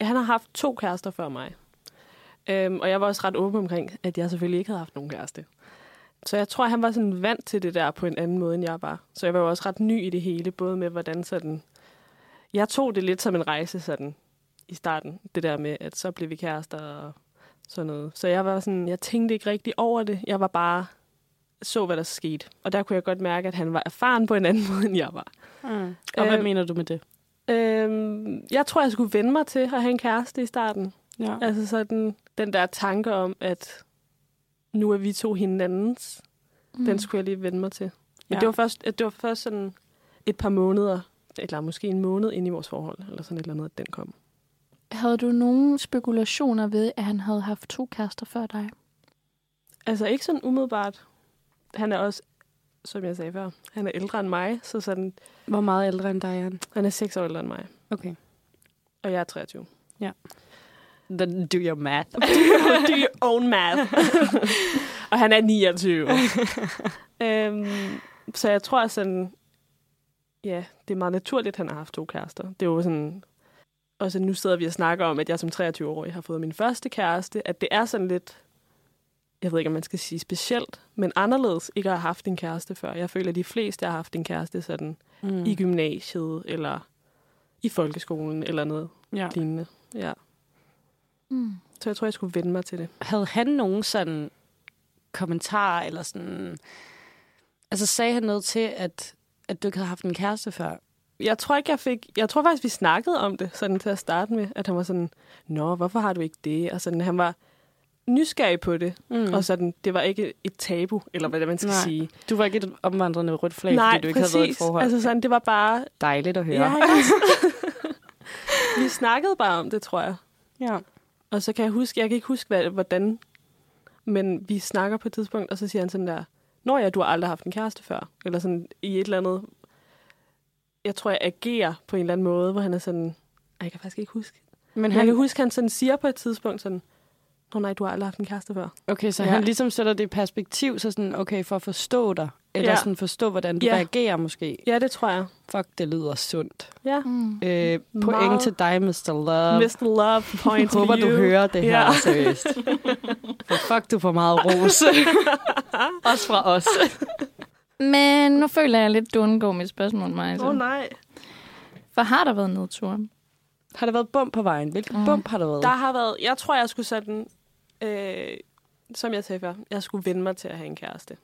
[SPEAKER 4] Han har haft to kærester før mig. Øhm, og jeg var også ret åben omkring, at jeg selvfølgelig ikke havde haft nogen kæreste. Så jeg tror, han var sådan vant til det der på en anden måde, end jeg var. Så jeg var jo også ret ny i det hele, både med hvordan sådan... Jeg tog det lidt som en rejse sådan i starten. Det der med, at så blev vi kærester og sådan noget. Så jeg var sådan, jeg tænkte ikke rigtig over det. Jeg var bare så, hvad der skete. Og der kunne jeg godt mærke, at han var erfaren på en anden måde, end jeg var.
[SPEAKER 2] Mm. Og hvad
[SPEAKER 4] Øh,
[SPEAKER 2] mener du med det?
[SPEAKER 4] Øhm, jeg tror, jeg skulle vende mig til at have en kæreste i starten.
[SPEAKER 2] Ja.
[SPEAKER 4] Altså sådan den der tanke om, at nu er vi to hinandens. Mm. Den skulle jeg lige vende mig til. Men
[SPEAKER 2] Ja.
[SPEAKER 4] ja. det, var først, det var først sådan et par måneder, eller måske en måned ind i vores forhold, eller sådan et eller andet, at den kom.
[SPEAKER 3] Havde du nogen spekulationer ved, at han havde haft to kærester før dig?
[SPEAKER 4] Altså ikke sådan umiddelbart. Han er også, som jeg sagde før, han er ældre end mig, så sådan,
[SPEAKER 2] Hvor meget ældre end dig, Jan?
[SPEAKER 4] han er seks år ældre end mig,
[SPEAKER 2] Okay.
[SPEAKER 4] og jeg er 23.
[SPEAKER 2] Then do your math.
[SPEAKER 4] Do your own math. og han er 29. øhm, så jeg tror sådan, ja, det er meget naturligt, at han har haft to kærester. Det er jo sådan, og så nu sidder vi og snakker om, at jeg som 23-årig har fået min første kæreste, at det er sådan lidt, jeg ved ikke, om man skal sige specielt, men anderledes ikke at have haft en kæreste før. Jeg føler, at de fleste har haft en kæreste sådan
[SPEAKER 2] Mm.
[SPEAKER 4] mm. i gymnasiet, eller i folkeskolen, eller noget
[SPEAKER 2] Ja.
[SPEAKER 4] lignende. Ja.
[SPEAKER 3] Mm.
[SPEAKER 4] Så jeg tror, jeg skulle vende mig til det.
[SPEAKER 2] Havde han nogen sådan kommentarer, eller sådan... Altså sagde han noget til, at, at du ikke havde haft en kæreste før?
[SPEAKER 4] jeg tror ikke, jeg fik... Jeg tror faktisk, vi snakkede om det sådan til at starte med, at han var sådan, Nå, hvorfor har du ikke det? Og sådan, han var nysgerrig på det, mm. og sådan, det var ikke et tabu, eller hvad det er, man skal
[SPEAKER 2] Nej.
[SPEAKER 4] sige.
[SPEAKER 2] Du var ikke et omvandrende rødt flag, Nej, fordi du ikke præcis. havde været i et forhold. Altså,
[SPEAKER 4] Altså sådan, det var bare...
[SPEAKER 2] Dejligt at høre.
[SPEAKER 4] Ja, ikke? vi snakkede bare om det, tror jeg.
[SPEAKER 2] ja.
[SPEAKER 4] Og så kan jeg huske, jeg kan ikke huske, hvad, hvordan, men vi snakker på et tidspunkt, og så siger han sådan der, Nå ja, du har aldrig haft en kæreste før. Eller sådan i et eller andet, jeg tror, jeg agerer på en eller anden måde, hvor han er sådan, "Ej, jeg kan faktisk ikke huske.
[SPEAKER 2] Men
[SPEAKER 4] Men jeg kan
[SPEAKER 2] han,
[SPEAKER 4] huske, han sådan siger på et tidspunkt sådan, Nå nej, du har aldrig haft en kæreste før.
[SPEAKER 2] okay, så ja.
[SPEAKER 4] Ja.
[SPEAKER 2] han ligesom sætter det i perspektiv, så sådan, okay, for at forstå dig, eller ja.
[SPEAKER 4] Ja.
[SPEAKER 2] sådan forstå, hvordan du ja.
[SPEAKER 4] Ja.
[SPEAKER 2] reagerer måske.
[SPEAKER 4] Ja, det tror jeg.
[SPEAKER 2] Fuck, det lyder sundt.
[SPEAKER 4] Ja.
[SPEAKER 3] Mm.
[SPEAKER 2] Øh, point
[SPEAKER 4] Meget.
[SPEAKER 2] til dig, Mr. Love.
[SPEAKER 4] Mr. Love
[SPEAKER 2] Jeg
[SPEAKER 4] point to
[SPEAKER 2] håber,
[SPEAKER 4] you.
[SPEAKER 2] du hører det her, ja.
[SPEAKER 4] Ja.
[SPEAKER 2] seriøst. For fuck, du får meget ros. Også fra os.
[SPEAKER 3] Men nu føler jeg lidt, du undgår mit spørgsmål, Maja.
[SPEAKER 2] altså.
[SPEAKER 4] Åh oh, nej.
[SPEAKER 3] For har der været nedture?
[SPEAKER 2] Har der været bump på vejen? Hvilken mm.
[SPEAKER 3] Mm.
[SPEAKER 2] bump har der været?
[SPEAKER 4] Der har været, jeg tror, jeg skulle sådan, øh, som jeg sagde før, jeg skulle vende mig til at have en kæreste.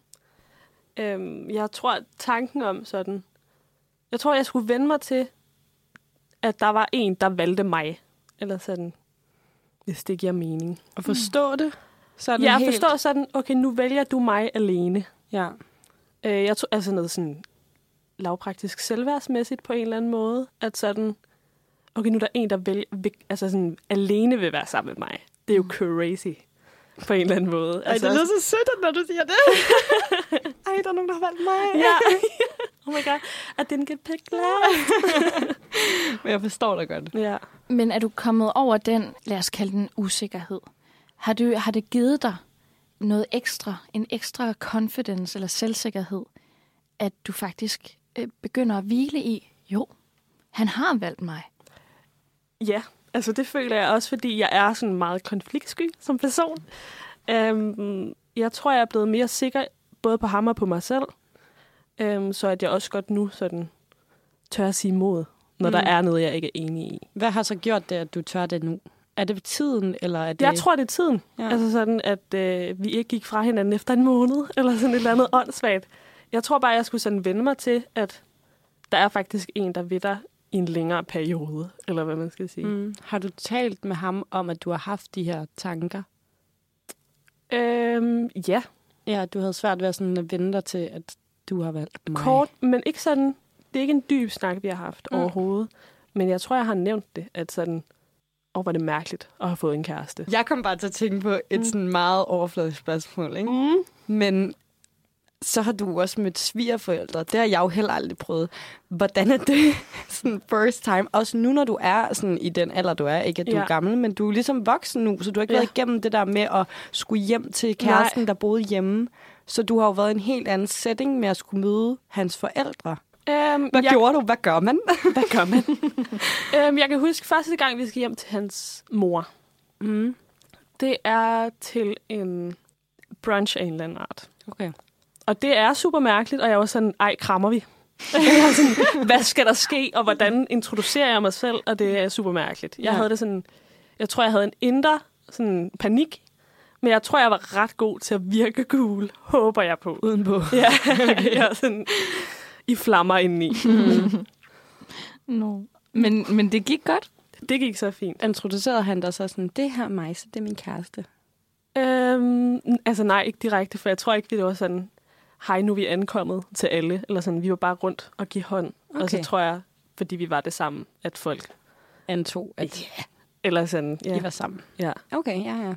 [SPEAKER 4] Øhm, jeg tror, at tanken om sådan, jeg tror, jeg skulle vende mig til, at der var en, der valgte mig. Eller sådan, hvis det giver mening.
[SPEAKER 2] At forstå det? Sådan
[SPEAKER 4] Jeg
[SPEAKER 2] helt.
[SPEAKER 4] forstår sådan, okay, nu vælger du mig alene.
[SPEAKER 2] Ja.
[SPEAKER 4] Øh, jeg tror, altså noget sådan lavpraktisk selvværdsmæssigt på en eller anden måde, at sådan, okay, nu er der en, der vil, vil, altså sådan, alene vil være sammen med mig. Det er
[SPEAKER 2] Mm.
[SPEAKER 4] jo crazy på en eller anden måde. altså,
[SPEAKER 2] så sødt, når du siger det. Ej, der er nogen, der har valgt mig.
[SPEAKER 4] Ja. oh my god, I didn't get picked last.
[SPEAKER 2] Men jeg forstår dig godt.
[SPEAKER 4] Ja.
[SPEAKER 3] Men er du kommet over den, lad os kalde den usikkerhed? Har, du, har det givet dig noget ekstra, en ekstra confidence eller selvsikkerhed, at du faktisk øh, begynder at hvile i, jo, han har valgt mig.
[SPEAKER 4] Ja, altså det føler jeg også, fordi jeg er sådan meget konfliktsky som person. Øhm, jeg tror, jeg er blevet mere sikker både på ham og på mig selv, øhm, så at jeg også godt nu sådan tør at sige imod, når
[SPEAKER 2] Mm.
[SPEAKER 4] mm. der er noget, jeg ikke er enig i.
[SPEAKER 2] Hvad har så gjort det, at du tør det nu? Er det tiden, eller er det...
[SPEAKER 4] Jeg tror, det er tiden.
[SPEAKER 2] Ja.
[SPEAKER 4] Ja. Altså sådan, at øh, vi ikke gik fra hinanden efter en måned, eller sådan et eller andet åndssvagt. Jeg tror bare, jeg skulle sådan vende mig til, at der er faktisk en, der ved dig i en længere periode, eller hvad man skal sige. Mm.
[SPEAKER 2] Mm. Har du talt med ham om, at du har haft de her tanker?
[SPEAKER 4] Øhm, ja,
[SPEAKER 2] Ja, at du havde svært ved at sådan at vente dig til, at du har valgt mig.
[SPEAKER 4] kort, men ikke sådan, det er ikke en dyb snak, vi har haft
[SPEAKER 3] Mm.
[SPEAKER 4] mm. overhovedet. Men jeg tror, jeg har nævnt det, at sådan, åh, var det mærkeligt at have fået en kæreste.
[SPEAKER 2] Jeg kom bare til at tænke på et
[SPEAKER 4] Mm.
[SPEAKER 2] sådan meget overfladisk spørgsmål, ikke?
[SPEAKER 4] Mm.
[SPEAKER 2] Men så har du også mødt svigerforældre. Det har jeg jo heller aldrig prøvet. Hvordan er det sådan first time? Også nu, når du er sådan i den alder, du er. Ikke at du ja.
[SPEAKER 4] Ja.
[SPEAKER 2] er gammel, men du er ligesom voksen nu, så du har ikke ja.
[SPEAKER 4] Ja.
[SPEAKER 2] været igennem det der med at skulle hjem til kæresten, Nej.
[SPEAKER 4] Nej.
[SPEAKER 2] der boede hjemme. Så du har jo været i en helt anden setting med at skulle møde hans forældre.
[SPEAKER 4] Øhm,
[SPEAKER 2] Hvad
[SPEAKER 4] jeg,
[SPEAKER 2] ja. gjorde du? Hvad gør man?
[SPEAKER 4] Hvad gør man? øhm, jeg kan huske første gang, vi skal hjem til hans mor.
[SPEAKER 2] Mm.
[SPEAKER 4] Det er til en brunch af en eller anden art.
[SPEAKER 2] Okay.
[SPEAKER 4] Og det er super mærkeligt, og jeg var sådan, ej, krammer vi? Jeg var sådan, Hvad skal der ske, og hvordan introducerer jeg mig selv? Og det er super mærkeligt. Jeg
[SPEAKER 2] Ja.
[SPEAKER 4] ja. havde det sådan, jeg tror, jeg havde en indre sådan panik, men jeg tror, jeg var ret god til at virke cool, håber jeg på.
[SPEAKER 2] Udenpå.
[SPEAKER 4] Ja, okay. jeg er sådan i flammer indeni.
[SPEAKER 3] No. Men, men det gik godt.
[SPEAKER 4] Det gik så fint.
[SPEAKER 2] Introducerede han dig så sådan, det her mig, så det er min kæreste.
[SPEAKER 4] Øhm, altså nej, ikke direkte, for jeg tror ikke, det var sådan, hej, nu er vi ankommet til alle. Eller sådan, vi var bare rundt og give hånd. Okay. Og så
[SPEAKER 2] Okay.
[SPEAKER 4] tror jeg, fordi vi var det sammen, at folk...
[SPEAKER 2] Antog, at
[SPEAKER 4] Eller sådan, ja.
[SPEAKER 2] I var sammen.
[SPEAKER 4] ja.
[SPEAKER 2] Okay, ja, ja.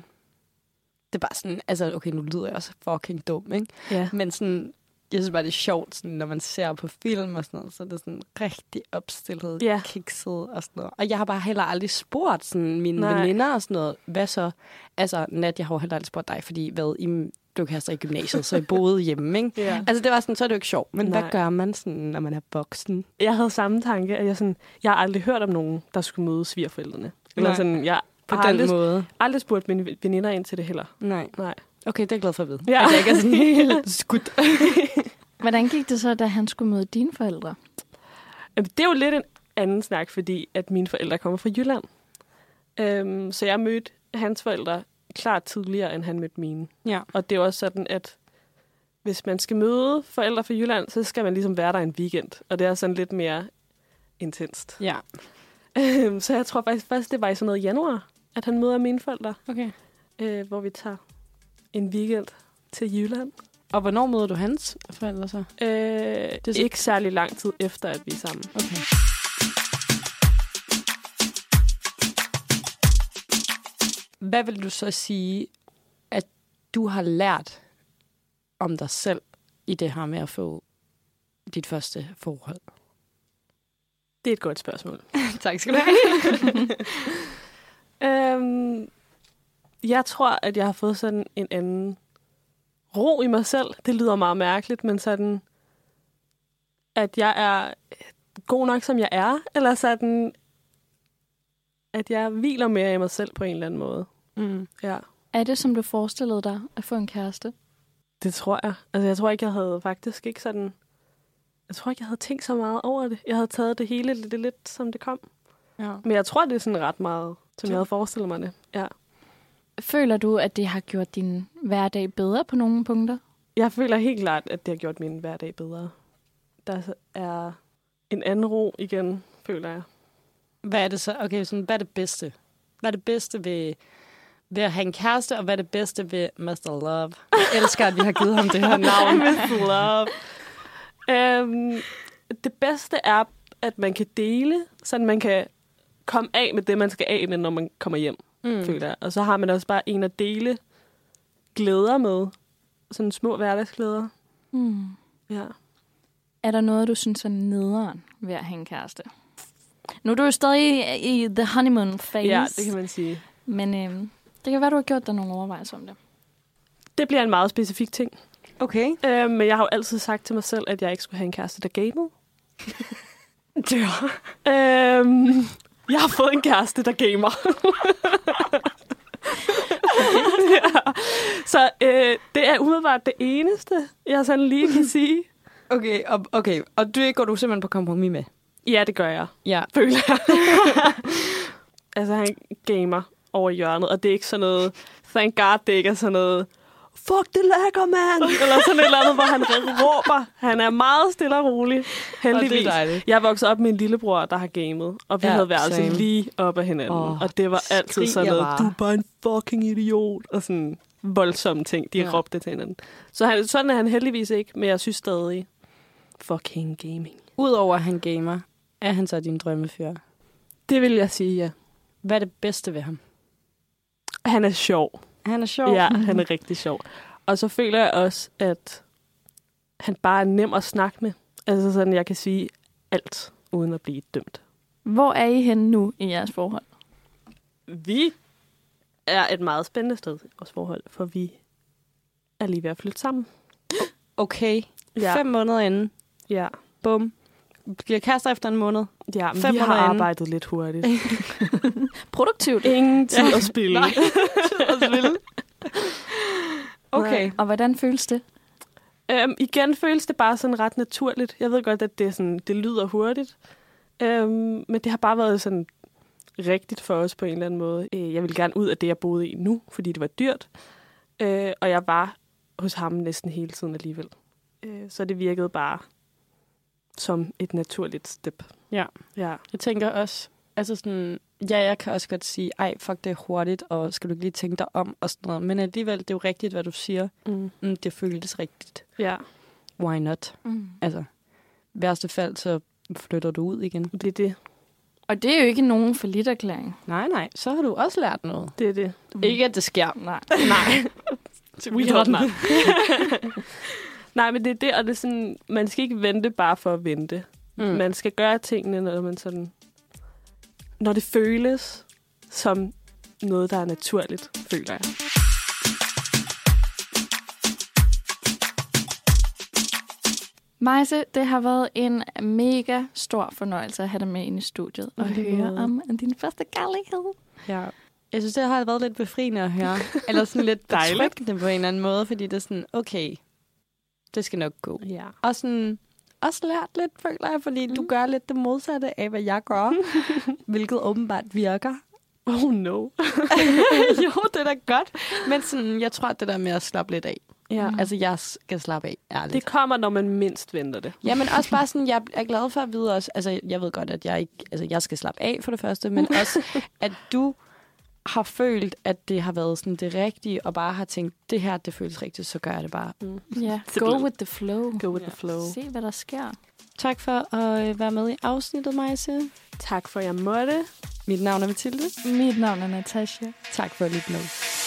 [SPEAKER 2] Det er bare sådan, altså okay, nu lyder jeg også fucking dum, ikke?
[SPEAKER 4] ja.
[SPEAKER 2] Men sådan, jeg synes bare, det er sjovt, sådan, når man ser på film og sådan noget, så er det sådan rigtig opstillet,
[SPEAKER 4] Ja.
[SPEAKER 2] kikset og sådan noget. Og jeg har bare heller aldrig spurgt sådan, mine Nej.
[SPEAKER 4] Nej.
[SPEAKER 2] veninder og sådan noget, hvad så? Altså, Nat, jeg har jo heller aldrig spurgt dig, fordi hvad, I, du kan altså i gymnasiet, så I boede hjemme, ikke?
[SPEAKER 4] ja.
[SPEAKER 2] Altså, det var sådan, så er det jo ikke sjovt, men Nej. hvad
[SPEAKER 4] Nej.
[SPEAKER 2] gør man sådan, når man er voksen?
[SPEAKER 4] Jeg havde samme tanke, at jeg sådan, jeg har aldrig hørt om nogen, der skulle møde svigerforældrene. Eller
[SPEAKER 2] Nej.
[SPEAKER 4] sådan, jeg
[SPEAKER 2] På
[SPEAKER 4] har
[SPEAKER 2] den
[SPEAKER 4] aldrig,
[SPEAKER 2] måde.
[SPEAKER 4] aldrig spurgt mine veninder ind til det heller.
[SPEAKER 2] Nej.
[SPEAKER 4] Nej.
[SPEAKER 2] Okay, det er jeg glad for at vide.
[SPEAKER 4] Ja.
[SPEAKER 2] At jeg ikke er sådan helt skudt.
[SPEAKER 3] Hvordan gik det så, da han skulle møde dine forældre?
[SPEAKER 4] Jamen, Det er jo lidt en anden snak, fordi at mine forældre kommer fra Jylland. Øhm, så jeg mødte hans forældre klart tidligere, end han mødte mine.
[SPEAKER 2] Ja.
[SPEAKER 4] Og det er jo også sådan, at hvis man skal møde forældre fra Jylland, så skal man ligesom være der en weekend. Og det er sådan lidt mere intenst.
[SPEAKER 2] Ja.
[SPEAKER 4] Øhm, så jeg tror faktisk først, det var i sådan noget i januar, at han møder mine forældre,
[SPEAKER 2] Okay.
[SPEAKER 4] øh, hvor vi tager en weekend til Jylland.
[SPEAKER 2] Og hvornår møder du hans forældre så?
[SPEAKER 4] Øh,
[SPEAKER 2] Det er
[SPEAKER 4] det
[SPEAKER 2] så-
[SPEAKER 4] er ikke særlig lang tid efter, at vi er sammen.
[SPEAKER 2] Okay. Hvad vil du så sige, at du har lært om dig selv i det her med at få dit første forhold?
[SPEAKER 4] Det er et godt spørgsmål.
[SPEAKER 2] tak skal du have.
[SPEAKER 4] Øhm, jeg tror, at jeg har fået sådan en anden ro i mig selv. Det lyder meget mærkeligt, men sådan, at jeg er god nok, som jeg er, eller sådan, at jeg hviler mere i mig selv på en eller anden måde.
[SPEAKER 2] Mm.
[SPEAKER 4] Ja,
[SPEAKER 3] Er det, som du forestillede dig, at få en kæreste?
[SPEAKER 4] det tror jeg. Altså, jeg tror ikke, jeg havde faktisk ikke sådan... Jeg tror ikke, jeg havde tænkt så meget over det. Jeg havde taget det hele lidt, lidt som det kom.
[SPEAKER 2] Ja.
[SPEAKER 4] Men jeg tror, det er sådan ret meget, som
[SPEAKER 2] Ja.
[SPEAKER 4] jeg havde forestillet mig det. Ja.
[SPEAKER 3] Føler du, at det har gjort din hverdag bedre på nogle punkter?
[SPEAKER 4] Jeg føler helt klart, at det har gjort min hverdag bedre. Der er en anden ro igen, føler jeg.
[SPEAKER 2] Hvad er det så? Okay, sådan, hvad er det bedste? Hvad er det bedste ved, ved at have en kæreste, og hvad er det bedste ved Master Love? Jeg elsker, at vi har givet ham det her navn.
[SPEAKER 4] With love. øhm, det bedste er, at man kan dele, så man kan komme af med det, man skal af med, når man kommer hjem, mm. føler jeg. Og så har man også bare en at dele glæder med. Sådan små hverdagsglæder.
[SPEAKER 3] Hmm.
[SPEAKER 4] Ja.
[SPEAKER 3] Er der noget, du synes er nederen ved at have en kæreste? Nu er du jo stadig i the honeymoon phase,
[SPEAKER 4] ja, det kan man sige.
[SPEAKER 3] men øhm, det kan være, du har gjort dig nogle overvejelser om det.
[SPEAKER 4] Det bliver en meget specifik ting.
[SPEAKER 2] Okay.
[SPEAKER 4] Øh, men jeg har jo altid sagt til mig selv, at jeg ikke skulle have en kæreste, der gamede. ja. Øhm, jeg har fået en kæreste, der gamer. ja. Så øh, det er umiddelbart det eneste, jeg sådan lige kan sige.
[SPEAKER 2] Okay, og, okay, og det går du simpelthen på kompromis med?
[SPEAKER 4] Ja, det gør jeg,
[SPEAKER 2] Ja.
[SPEAKER 4] føler jeg. altså, han gamer over i hjørnet, og det er ikke sådan noget... Thank God, det ikke er sådan noget... fuck det lækker, mand! Eller sådan et eller andet, hvor han råber. Han er meget stille og rolig, heldigvis.
[SPEAKER 2] Og det er dejligt.
[SPEAKER 4] Jeg voksede op med en lillebror, der har gamet, og vi
[SPEAKER 2] Ja,
[SPEAKER 4] havde været altså
[SPEAKER 2] same.
[SPEAKER 4] lige op af hinanden.
[SPEAKER 2] Åh,
[SPEAKER 4] Oh, og det var altid
[SPEAKER 2] skriger
[SPEAKER 4] sådan noget,
[SPEAKER 2] bare.
[SPEAKER 4] du er bare en fucking idiot, og sådan voldsomme ting, de
[SPEAKER 2] Ja.
[SPEAKER 4] ja. råbte til hinanden. Så han, sådan er han heldigvis ikke, men jeg synes stadig, fucking gaming.
[SPEAKER 2] Udover at han gamer, er han så din drømmefyr?
[SPEAKER 4] Det vil jeg sige, ja.
[SPEAKER 2] Hvad er det bedste ved ham?
[SPEAKER 4] Han er sjov.
[SPEAKER 2] Han er sjov.
[SPEAKER 4] Ja, han er rigtig sjov. Og så føler jeg også, at han bare er nem at snakke med. Altså sådan, jeg kan sige alt, uden at blive dømt.
[SPEAKER 3] Hvor er I henne nu i jeres forhold?
[SPEAKER 4] Vi er et meget spændende sted i vores forhold, for vi er lige ved at flytte sammen.
[SPEAKER 2] Okay.
[SPEAKER 4] Ja.
[SPEAKER 2] Ja. Fem måneder inden.
[SPEAKER 4] Ja,
[SPEAKER 2] Bum. Bliver kærester efter en måned.
[SPEAKER 4] ja men
[SPEAKER 2] Fem
[SPEAKER 4] vi har
[SPEAKER 2] måneder inden.
[SPEAKER 4] arbejdet lidt hurtigt.
[SPEAKER 3] Produktivt.
[SPEAKER 4] Ingen tid at spille.
[SPEAKER 2] Nej. Okay.
[SPEAKER 3] Og hvordan føles det?
[SPEAKER 4] Øhm, igen føles det bare sådan ret naturligt. Jeg ved godt, at det, er sådan, det lyder hurtigt, øhm, men det har bare været sådan rigtigt for os på en eller anden måde. Øh, jeg ville gerne ud af det, jeg boede i nu, fordi det var dyrt, øh, og jeg var hos ham næsten hele tiden alligevel. Øh, så det virkede bare som et naturligt step.
[SPEAKER 2] Ja.
[SPEAKER 4] ja.
[SPEAKER 2] Jeg tænker også, altså sådan, ja, jeg kan også godt sige, ej, fuck, det er hurtigt, og skal du ikke lige tænke dig om, og sådan noget. Men alligevel, det er jo rigtigt, hvad du siger.
[SPEAKER 4] Mm.
[SPEAKER 2] Mm, det føles rigtigt.
[SPEAKER 4] ja.
[SPEAKER 2] Why not?
[SPEAKER 3] Mm.
[SPEAKER 2] Altså, værste fald, så flytter du ud igen.
[SPEAKER 4] Det er det.
[SPEAKER 3] Og det er jo ikke nogen forlitterklæring.
[SPEAKER 2] Nej, nej, så har du også lært noget.
[SPEAKER 4] Det er det.
[SPEAKER 2] Mm. Ikke, at det sker.
[SPEAKER 3] Nej.
[SPEAKER 4] Nej.
[SPEAKER 2] We don't know.
[SPEAKER 4] Nej, men det er det, og det er sådan, man skal ikke vente bare for at vente. Mm. Man skal gøre tingene, når man sådan... Når det føles som noget, der er naturligt, føler jeg.
[SPEAKER 3] Majse, det har været en mega stor fornøjelse at have dig med ind i studiet og
[SPEAKER 4] I lige
[SPEAKER 3] høre
[SPEAKER 4] måde.
[SPEAKER 3] om din første kærlighed.
[SPEAKER 2] Ja. Jeg synes, det har været lidt befriende at høre. Eller sådan lidt
[SPEAKER 4] Dejligt.
[SPEAKER 2] betryggende på en eller anden måde, fordi det er sådan, okay, det skal nok gå.
[SPEAKER 4] Ja.
[SPEAKER 2] Og sådan, også lært lidt, føler jeg, fordi mm. du gør lidt det modsatte af, hvad jeg gør. hvilket åbenbart virker.
[SPEAKER 4] Oh no.
[SPEAKER 2] jo, det er da godt. Men sådan, jeg tror, at det der med at slappe lidt af.
[SPEAKER 4] Ja.
[SPEAKER 2] Mm. Altså, jeg skal slappe af, ærligt.
[SPEAKER 4] Det kommer, når man mindst venter det.
[SPEAKER 2] Ja, men også bare sådan, jeg er glad for at vide også, altså jeg ved godt, at jeg ikke, altså jeg skal slappe af for det første, men også, at du har følt, at det har været sådan det rigtige, og bare har tænkt, det her, det føles rigtigt, så gør jeg det bare.
[SPEAKER 4] Mm.
[SPEAKER 3] Ja, go
[SPEAKER 4] Simpelthen.
[SPEAKER 3] with the flow.
[SPEAKER 4] Go with the flow.
[SPEAKER 3] Se, hvad der sker.
[SPEAKER 2] Tak for at øh, være med i afsnittet, Majse.
[SPEAKER 4] Tak for, at jeg måtte.
[SPEAKER 2] Mit navn er Mathilde.
[SPEAKER 3] Mit navn er Natasha.
[SPEAKER 2] Tak for at lytte med.